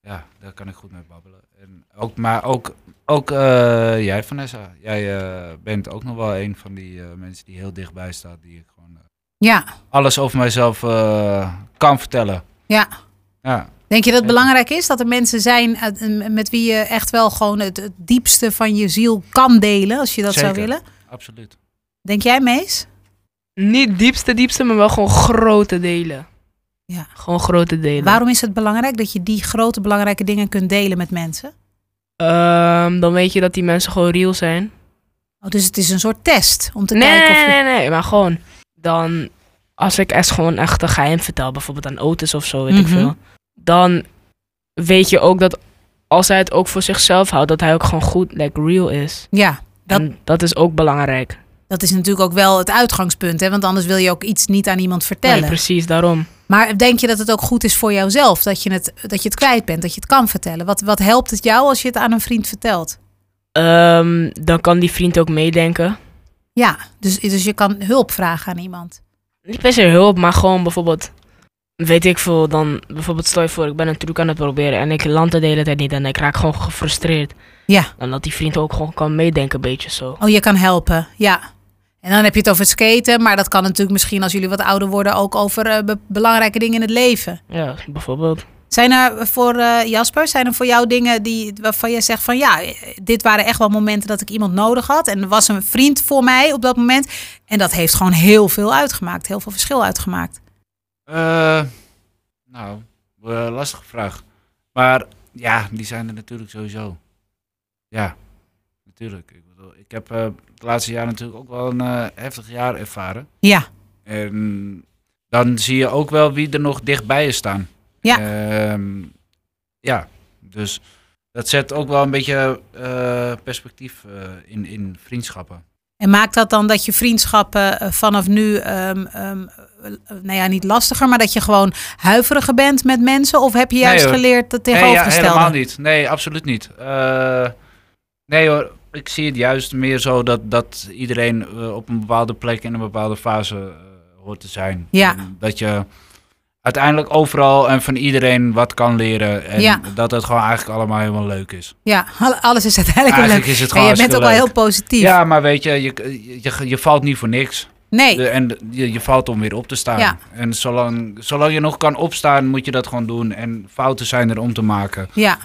S1: ja, daar kan ik goed mee babbelen. En ook, maar ook, ook eh, jij Vanessa, jij eh, bent ook nog wel een van die eh, mensen die heel dichtbij staat, die ik gewoon... eh,
S2: Ja.
S1: alles over mijzelf eh, kan vertellen.
S2: Ja.
S1: Ja,
S2: Denk je dat het
S1: Eh.
S2: belangrijk is dat er mensen zijn uit- eh, met wie je echt wel gewoon het, het diepste van je ziel kan delen, als je dat zou
S1: Zeker.
S2: willen?
S1: absoluut.
S2: Denk jij, Mees?
S3: Niet diepste diepste, maar wel gewoon grote delen.
S2: Ja.
S3: Gewoon grote delen.
S2: Waarom is het belangrijk dat je die grote belangrijke dingen kunt delen met mensen?
S3: Ehm, dan weet je dat die mensen gewoon real zijn.
S2: Oh, dus het is een soort test om te
S3: nee,
S2: kijken of je...
S3: nee, nee, nee, maar gewoon. Dan, als ik echt gewoon echt een geheim vertel, bijvoorbeeld aan Otis of zo, weet
S2: Mhm.
S3: ik veel. Dan weet je ook dat als hij het ook voor zichzelf houdt, dat hij ook gewoon goed, like, real is.
S2: Ja, Dat-
S3: En dat is ook belangrijk.
S2: dat is natuurlijk ook wel het uitgangspunt, hè? want anders wil je ook iets niet aan iemand
S3: Nee,
S2: vertellen.
S3: precies, daarom.
S2: Maar denk je dat het ook goed is voor jouzelf? Dat je het, dat je het kwijt bent, dat je het kan vertellen? Wat, wat helpt het jou als je het aan een vriend vertelt?
S3: Ehm, dan kan die vriend ook meedenken.
S2: Ja, dus, dus je kan hulp vragen aan iemand.
S3: Niet per se hulp, maar gewoon bijvoorbeeld. Weet ik veel, dan bijvoorbeeld stel je voor, ik ben een truc aan het proberen en ik land het de hele tijd niet en ik raak gewoon gefrustreerd.
S2: Ja.
S3: Dan dat die vriend ook gewoon kan meedenken, een beetje zo.
S2: Oh, je kan helpen, ja. En dan heb je het over skaten, maar dat kan natuurlijk misschien als jullie wat ouder worden ook over eh, be- belangrijke dingen in het leven.
S3: Ja, bijvoorbeeld.
S2: Zijn er voor eh, Jasper, zijn er voor jou dingen die, waarvan jij zegt van ja, eh, dit waren echt wel momenten dat ik iemand nodig had en er was een vriend voor mij op dat moment en dat heeft gewoon heel veel uitgemaakt, heel veel verschil uitgemaakt.
S1: Eh, nou, eh, lastige vraag. Maar ja, die zijn er natuurlijk sowieso. Ja, natuurlijk. Ik, bedoel, ik heb eh, het laatste jaar natuurlijk ook wel een eh, heftig jaar ervaren.
S2: Ja,
S1: En dan zie je ook wel wie er nog dichtbij je staan.
S2: Ja.
S1: Ehm, ja, dus dat zet ook wel een beetje eh, perspectief eh, in, in vriendschappen.
S2: En maakt dat dan dat je vriendschappen eh, vanaf nu, ehm, ehm, eh, nou ja, niet lastiger, maar dat je gewoon huiveriger bent met mensen? Of heb je juist
S1: hoor.
S2: geleerd dat
S1: Nee, ja,
S2: tegenovergestelde?
S1: helemaal niet. Nee, absoluut niet. Eh, nee hoor, ik zie het juist meer zo dat, dat iedereen eh, op een bepaalde plek in een bepaalde fase eh, hoort te zijn.
S2: Ja.
S1: En dat je uiteindelijk overal en van iedereen wat kan leren. En
S2: Ja.
S1: dat het gewoon eigenlijk allemaal helemaal leuk is.
S2: Ja, al- alles is uiteindelijk wel
S1: Eigenlijk
S2: leuk.
S1: is het
S2: en
S1: gewoon
S2: je bent ook wel
S1: hartstikke
S2: heel positief.
S1: Ja, maar weet je, je, je, je valt niet voor niks.
S2: Nee,
S1: De- en de- je, je valt om weer op te staan.
S2: Ja.
S1: En zolang, zolang je nog kan opstaan, moet je dat gewoon doen. En fouten zijn er om te maken.
S2: ja.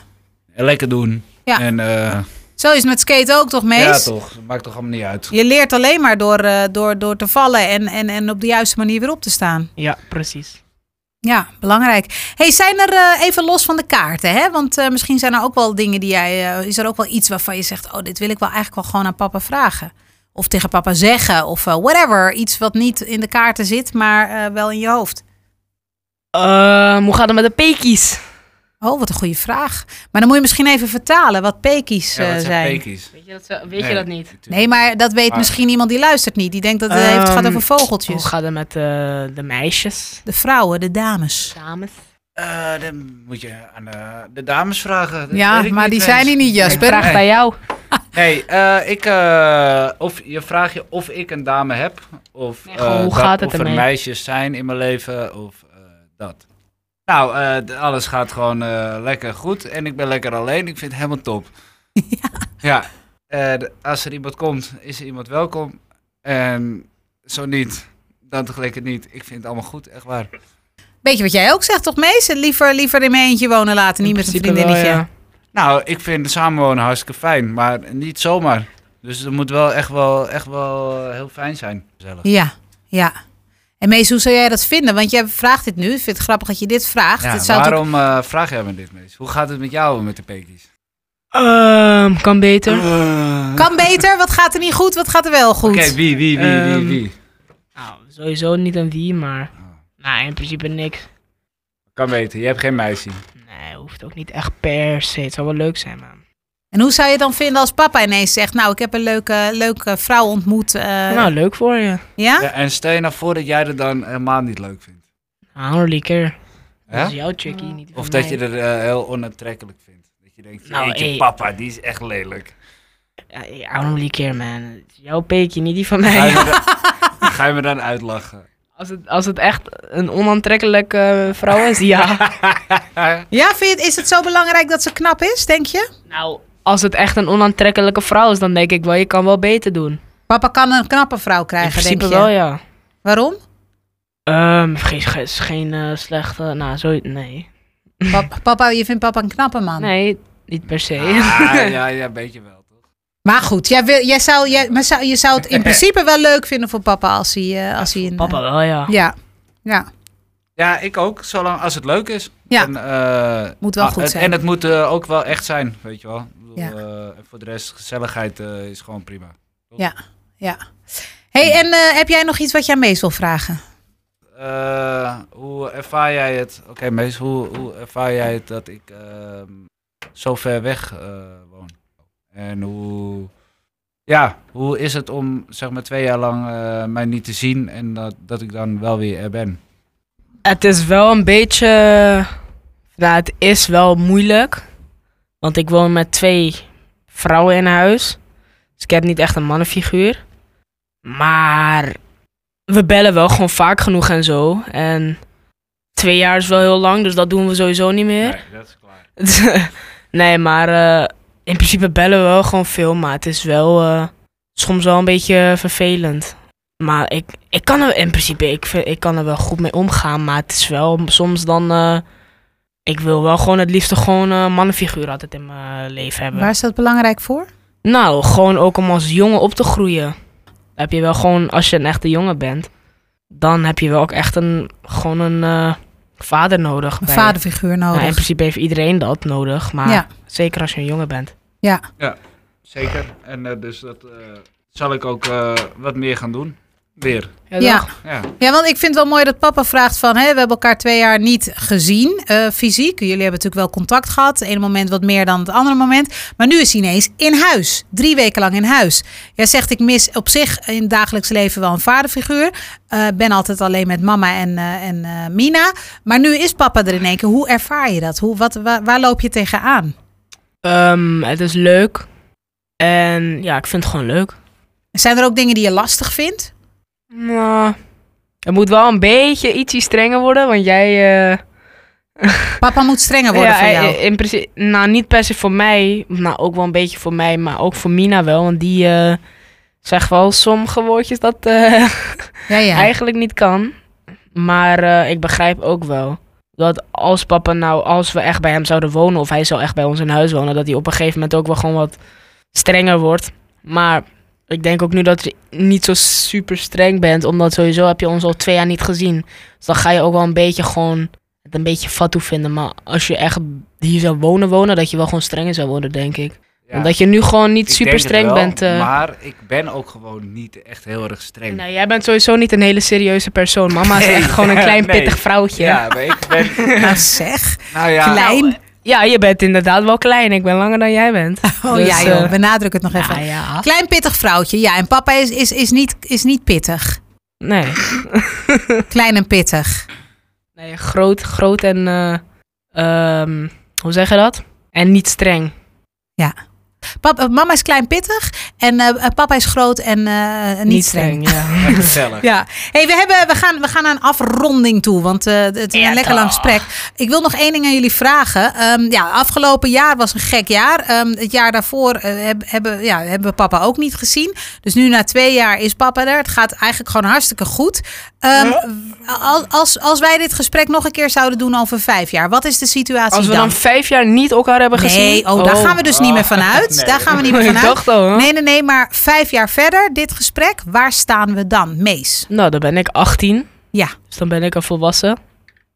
S1: En lekker doen.
S2: Ja.
S1: En eh,
S2: Zo is het met skate ook toch, Mees?
S1: ja, toch. Dat maakt toch allemaal niet uit.
S2: Je leert alleen maar door, eh, door, door te vallen en, en, en op de juiste manier weer op te staan.
S3: Ja, precies.
S2: Ja, belangrijk. Hey, zijn er eh, even los van de kaarten, hè? Want eh, misschien zijn er ook wel dingen die jij. eh, is er ook wel iets waarvan je zegt: Oh, dit wil ik wel eigenlijk wel gewoon aan papa vragen. Of tegen papa zeggen, of eh, whatever. Iets wat niet in de kaarten zit, maar eh, wel in je hoofd.
S3: Ehm, hoe gaat het met de pekies?
S2: Oh, wat een goede vraag. Maar dan moet je misschien even vertalen wat pekies eh,
S1: Ja, wat
S2: zijn.
S1: pekies? Ah.
S3: Weet je dat, zo- weet je dat niet?
S2: Nee, maar dat weet
S1: Maar-
S2: misschien iemand die luistert niet. Die denkt dat het heeft- het gaat
S3: Ehm,
S2: over
S3: Hoe
S2: vogeltjes.
S3: gaat het met eh, de meisjes?
S2: De vrouwen, de dames.
S3: Dames?
S1: Eh, dan moet je aan eh, de dames vragen. Dat
S2: Ja,
S1: weet ik
S2: maar die
S1: eens.
S2: zijn hier niet,
S3: Ik
S2: Jasper.
S1: vraag
S3: vraag
S1: bij
S3: bij jou.
S1: Nee, eh, ik, eh, of je vraagt je of ik een dame heb. Of,
S3: Nee, gewoon,
S1: eh,
S3: hoe
S1: dat-
S3: gaat het
S1: of er
S3: ermee?
S1: meisjes zijn in mijn leven of eh, dat. Nou, eh, d- alles gaat gewoon eh, lekker goed. En ik ben lekker alleen. Ik vind het helemaal
S3: [laughs]
S1: top. Ja. Eh, d- als er iemand komt, is er iemand welkom. En zo niet, dan tegelijkertijd niet. Ik vind het allemaal goed, echt waar.
S2: Beetje wat jij ook zegt, toch, Mees? Liever, liever in mijn eentje wonen laten, niet met een vriendinnetje.
S1: Nou, ik vind samenwonen hartstikke fijn, maar niet zomaar. Dus het moet wel echt wel, echt wel eh, heel fijn zijn. Gezellig.
S2: Ja, ja. En Mees, hoe zou jij dat vinden? Want jij vraagt dit nu. Ik vind het grappig dat je dit vraagt.
S1: Ja,
S2: het zou toch-
S1: waarom eh, vraag jij me dit, Mees? Hoe gaat het met jou met de pekies?
S3: Ehm, kan beter. Eh.
S2: Kan beter? Wat gaat er niet goed? Wat gaat er wel goed?
S1: Oké, wie, wie, wie, wie,
S3: Ehm,
S1: wie?
S3: Nou, sowieso niet een wie, maar...
S1: Oh,
S3: Nou, in principe niks.
S1: kan weten, je hebt geen meisje.
S3: Nee, hoeft ook niet echt per se. Het zou wel leuk zijn, man.
S2: En hoe zou je het dan vinden als papa ineens zegt... Nou, ik heb een leuke, leuke vrouw ontmoet. eh,
S3: nou, leuk voor je.
S2: ja?
S1: Ja, en stel je nou voor dat jij het dan helemaal niet leuk vindt.
S3: Nou, holy care.
S1: Hè?
S3: Dat is jouw chickie, niet die
S1: Of
S3: van
S1: dat je
S3: mij.
S1: het heel onaantrekkelijk vindt. Dat je denkt,
S3: Nou,
S1: jeetje,
S3: hey.
S1: papa, die is echt lelijk.
S3: Ja, I only care, man. Het is Jouw peekje, niet die van mij.
S1: Ga je me dan, ga je me dan uitlachen?
S3: Als het, als het echt een onaantrekkelijke vrouw is, ja.
S2: Ja, vind je, is het zo belangrijk dat ze knap is, denk je?
S3: nou, als het echt een onaantrekkelijke vrouw is, dan denk ik wel, je kan wel beter doen.
S2: Papa kan een knappe vrouw
S3: in
S2: krijgen, denk
S3: principe
S2: je?
S3: wel, ja. [laughs]
S2: Waarom?
S3: Ehm, geen geen, geen eh, slechte, nou, zo, nee.
S2: Pap- papa, je vindt papa een knappe man.
S3: Nee, niet per se.
S1: Ah, ja, ja, een beetje wel, toch?
S2: Maar goed, jij wil, jij zou, jij, maar zou, je zou het
S3: [laughs]
S2: in principe wel leuk vinden voor papa als hij, eh, als hij een...
S3: [laughs] Papa wel, ja.
S2: Ja, ja.
S1: Ja, ik ook, zolang als het leuk is.
S2: Ja.
S1: En, eh,
S2: Moet wel
S1: ah,
S2: goed
S1: het-
S2: zijn.
S1: En het moet eh, ook wel echt zijn, weet je wel. Ik bedoel,
S2: Ja.
S1: eh, en voor de rest, gezelligheid eh, is gewoon prima.
S2: hey, en eh, heb jij nog iets wat jij meest wil vragen?
S1: Eh, hoe ervaar jij het? Oké, Mees, hoe, hoe ervaar jij het dat ik ehm, zo ver weg eh, woon? En hoe. Ja, hoe is het om zeg maar twee jaar lang eh, mij niet te zien en dat, dat ik dan wel weer er ben?
S3: Het is wel een beetje. Nou, het is wel moeilijk. Want ik woon met twee vrouwen in huis. Dus ik heb niet echt een mannenfiguur. Maar we bellen wel gewoon vaak genoeg en zo. En twee jaar is wel heel lang, dus dat doen we sowieso niet meer.
S1: dat is klaar.
S3: [laughs] nee, maar eh, in principe bellen we wel gewoon veel. Maar het is wel eh, soms wel een beetje vervelend. Maar ik, ik kan er in principe ik, vind- ik kan er wel goed mee omgaan. Maar het is wel soms dan. eh, ik wil wel gewoon het liefste gewoon een mannenfiguur altijd in mijn leven hebben.
S2: Waar is dat belangrijk voor?
S3: Nou, gewoon ook om als jongen op te groeien. Dan heb je wel gewoon, als je een echte jongen bent, dan heb je wel ook echt een, gewoon een eh, vader nodig.
S2: Een
S3: bij-
S2: vaderfiguur
S3: Nou, in
S2: nodig.
S3: principe heeft iedereen dat nodig, maar
S2: Ja.
S3: zeker als je een jongen bent.
S2: Ja,
S1: Zeker. En eh, dus dat eh, zal ik ook eh, wat meer gaan doen. Weer.
S2: ja.
S1: Ja.
S2: ja, want ik vind het wel mooi dat papa vraagt van... Hè, we hebben elkaar twee jaar niet gezien, eh, fysiek. Jullie hebben natuurlijk wel contact gehad. Het ene moment wat meer dan het andere moment. Maar nu is hij ineens in huis. Drie weken lang in huis. Jij zegt, ik mis op zich in het dagelijks leven wel een vaderfiguur. Eh, ben altijd alleen met mama en, eh, en eh, Mina. Maar nu is papa er in één keer. Hoe ervaar je dat? Hoe, wat, waar, waar loop je tegenaan?
S3: Ehm, het is leuk. En ja, ik vind het gewoon leuk.
S2: Zijn er ook dingen die je lastig vindt?
S3: Nou, het moet wel een beetje ietsje strenger worden, want jij... eh,
S2: Papa moet strenger worden
S3: ja,
S2: voor jou.
S3: eh, In principe, nou, niet per se voor mij. Nou, ook wel een beetje voor mij, maar ook voor Mina wel. Want die eh, zegt wel sommige woordjes dat eh,
S2: ja, ja.
S3: eigenlijk niet kan. Maar eh, ik begrijp ook wel dat als papa nou, als we echt bij hem zouden wonen... of hij zou echt bij ons in huis wonen... dat hij op een gegeven moment ook wel gewoon wat strenger wordt. Maar ik denk ook nu dat je niet zo super streng bent... omdat sowieso heb je ons al twee jaar niet gezien. Dus dan ga je ook wel een beetje gewoon... het een beetje fat toe vinden. Maar als je echt hier zou wonen, wonen... dat je wel gewoon strenger zou worden, denk ik. Omdat je nu gewoon niet
S1: Ik
S3: super
S1: denk het
S3: streng
S1: wel,
S3: bent... eh.
S1: Maar ik ben ook gewoon niet echt heel erg streng.
S3: Nou, jij bent sowieso niet een hele serieuze
S2: [laughs]
S3: persoon. Mama is
S1: Nee.
S3: echt gewoon een klein
S1: Nee.
S3: pittig vrouwtje.
S1: Ja, maar ik ben.
S2: Nou
S1: [laughs]
S2: zeg,
S1: Nou ja,
S2: klein.
S3: Nou, Ja, je bent inderdaad wel klein. Ik ben langer dan jij bent.
S2: Oh
S3: Dus,
S2: [laughs] ja, joh,
S3: eh,
S2: benadruk het nog
S3: ja,
S2: even.
S3: ja.
S2: Klein pittig vrouwtje, ja. En papa is, is, is, niet, is niet pittig.
S3: Nee.
S2: Klein en pittig.
S3: nee groot, groot en... eh, ehm, hoe zeg je dat? En niet streng.
S2: Papa, mama is klein pittig en eh, papa is groot en eh, niet, streng. [laughs]
S3: ja.
S1: Echt gezellig.
S2: Ja, hey, we, hebben, we, gaan, we gaan naar een afronding toe, want eh, het is
S3: Ja,
S2: een lekker lang
S3: toch.
S2: gesprek. Ik wil nog één ding aan jullie vragen. Ehm, ja, afgelopen jaar was een gek jaar. Ehm, het jaar daarvoor eh, heb- hebben, ja, hebben we papa ook niet gezien. Dus nu na twee jaar is papa er. Het gaat eigenlijk gewoon hartstikke goed. Ehm, als, als, als wij dit gesprek nog een keer zouden doen over vijf jaar, wat is de situatie
S3: Als we
S2: dan?
S3: dan vijf jaar niet elkaar hebben gezien... Oh.
S2: Nee, oh, daar gaan we dus niet meer vanuit.
S1: Nee.
S2: Daar gaan we niet meer
S3: [laughs] Ik
S2: vanuit.
S3: dacht al, hè?
S2: Nee, nee, nee, maar vijf jaar verder, dit gesprek, waar staan we dan? Mees.
S3: Nou, dan ben ik 18.
S2: Ja,
S3: Dus dan ben ik een volwassen.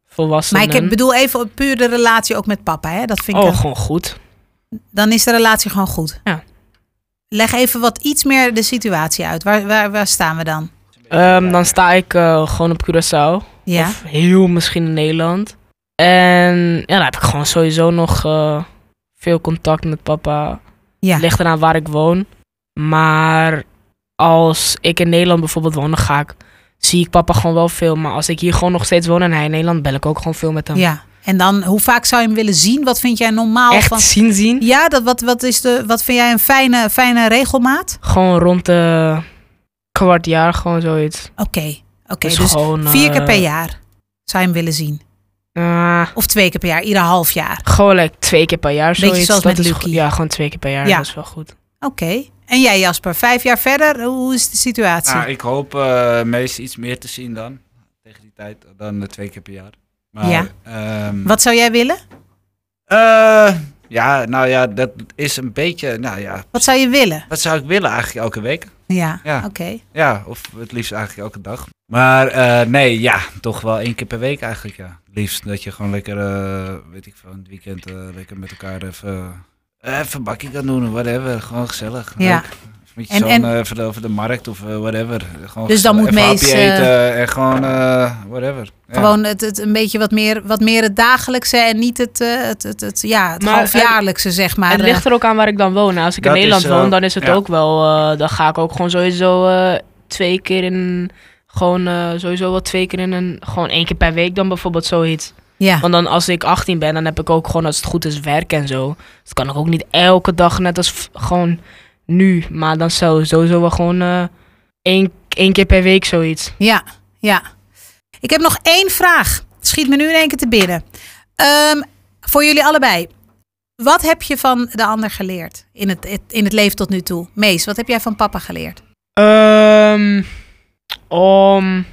S3: Volwassen.
S2: maar ik heb- bedoel even op puur de relatie ook met papa. Hè? Dat vind ik
S3: Oh,
S2: een-
S3: gewoon goed.
S2: dan is de relatie gewoon goed.
S3: Ja.
S2: Leg even wat iets meer de situatie uit. Waar, waar, waar staan we dan?
S3: Ehm, dan sta ik eh, gewoon op Curaçao.
S2: Ja.
S3: Of heel misschien in Nederland. En ja, dan heb ik gewoon sowieso nog eh, veel contact met papa.
S2: ja.
S3: Ligt eraan waar ik woon. Maar als ik in Nederland bijvoorbeeld woon, dan ga ik, zie ik papa gewoon wel veel. Maar als ik hier gewoon nog steeds woon en hij in Nederland, bel ik ook gewoon veel met hem.
S2: ja. En dan, hoe vaak zou je hem willen zien? Wat vind jij normaal?
S3: Echt
S2: Van...
S3: zien zien.
S2: Ja, dat, wat, wat, is de, wat vind jij een fijne, fijne regelmaat?
S3: Gewoon rond de kwart jaar, gewoon zoiets.
S2: Oké, oké.
S3: Dus
S2: dus
S3: gewoon,
S2: vier keer
S3: eh,
S2: per jaar zou je hem willen zien.
S3: Ah,
S2: Of twee keer per jaar, ieder half jaar.
S3: gewoon like twee keer per jaar.
S2: Beetje
S3: zoiets.
S2: zoals
S3: Dat
S2: met
S3: is
S2: Lucky.
S3: goed. Ja, gewoon twee keer per jaar.
S2: Ja.
S3: Dat is wel goed.
S2: Oké. En jij Jasper, vijf jaar verder, hoe is de situatie?
S1: Nou, ik hoop eh meest iets meer te zien dan. Tegen die tijd dan eh, twee keer per jaar. Maar,
S2: Ja.
S1: ehm,
S2: Wat zou jij willen?
S1: eh, ja, nou ja, dat is een beetje. Nou ja,
S2: Wat zou je willen?
S1: wat zou ik willen eigenlijk elke week?
S2: Ja,
S1: Ja.
S2: oké.
S1: Ja, of het liefst eigenlijk elke dag. Maar eh, nee, ja, toch wel één keer per week eigenlijk, ja. Het liefst dat je gewoon lekker, eh, weet ik veel, in het weekend eh, lekker met elkaar even, eh, even een bakje kan doen of whatever. Gewoon gezellig.
S2: Ja.
S1: leuk. Even Met je
S2: En-
S1: zoon
S2: en-
S1: eh, even de- over de markt of eh, whatever. Gewoon
S2: Dus dan
S1: gezellig,
S2: moet
S1: even
S2: Mees,
S1: hapje
S2: eh,
S1: eten en gewoon eh, whatever. Ja.
S2: Gewoon het, het een beetje wat meer, wat meer het dagelijkse en niet het, eh, het, het, het, ja, het
S3: Maar eh,
S2: halfjaarlijkse, zeg maar. eh,
S3: het ligt er ook aan waar ik dan woon. Als ik in
S1: Dat is,
S3: Nederland
S1: eh,
S3: woon, dan is het
S1: ja.
S3: ook wel. eh, dan ga ik ook gewoon sowieso eh, twee keer in. Gewoon eh, sowieso wel twee keer in een. Gewoon één keer per week dan bijvoorbeeld zoiets.
S2: Ja,
S3: Want dan als ik 18 ben, dan heb ik ook gewoon als het goed is werk en zo. Dus kan ik ook niet elke dag net als v- gewoon nu. Maar dan zou sowieso wel gewoon eh, één, één keer per week zoiets.
S2: ja, ja. Ik heb nog één vraag. Schiet me nu in één keer te binnen. Ehm, voor jullie allebei. Wat heb je van de ander geleerd in het, het- in het leven tot nu toe? Mees, wat heb jij van papa geleerd?
S3: Ehm om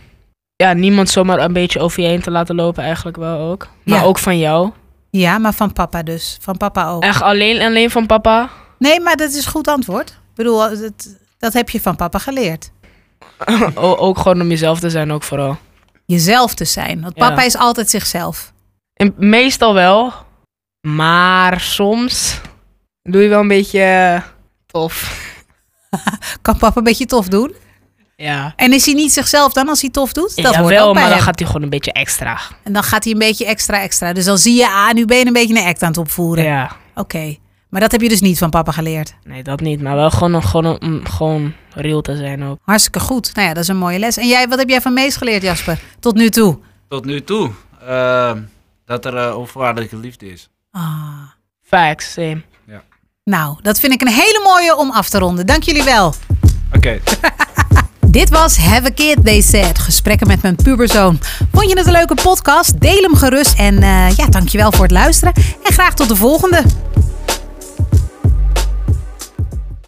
S3: ja, niemand zomaar een beetje over je heen te laten lopen, eigenlijk wel ook. Maar
S2: Ja.
S3: ook van jou.
S2: Ja, maar van papa dus. Van papa ook.
S3: Oh. Echt alleen, alleen van
S2: [laughs]
S3: papa.
S2: Nee, maar dat is een goed antwoord. Ik bedoel, dat, dat heb je van papa geleerd.
S3: O- ook gewoon om jezelf te zijn, ook vooral.
S2: Jezelf te zijn. Want
S3: Ja.
S2: papa is altijd zichzelf.
S3: En meestal wel, maar soms doe je wel een beetje eh, tof.
S2: Kan papa een beetje tof doen?
S3: Ja.
S2: En is hij niet zichzelf dan als hij tof doet? Dat
S3: ja,
S2: hoort
S3: wel,
S2: ook bij
S3: maar dan
S2: hem.
S3: gaat hij gewoon een beetje extra.
S2: En dan gaat hij een beetje extra extra. Dus dan zie je, ah, nu ben je een beetje een act aan het opvoeren.
S3: Ja.
S2: Oké. Maar dat heb je dus niet van papa geleerd.
S3: Nee, dat niet. Maar wel gewoon, gewoon, om gewoon real te zijn ook.
S2: Hartstikke goed. Nou ja, dat is een mooie les. En jij, wat heb jij van Mees geleerd, Jasper? Tot nu toe.
S1: Tot nu toe. ehm, dat er eh, onvoorwaardelijke liefde is.
S2: Ah.
S3: Facts, same.
S2: Nou, dat vind ik een hele mooie om af te ronden. Dank jullie wel.
S1: Oké.
S2: Dit was Have a Kid, They Said. Gesprekken met mijn puberzoon. Vond je het een leuke podcast? Deel hem gerust. En eh ja, dankjewel voor het luisteren. En graag tot de volgende.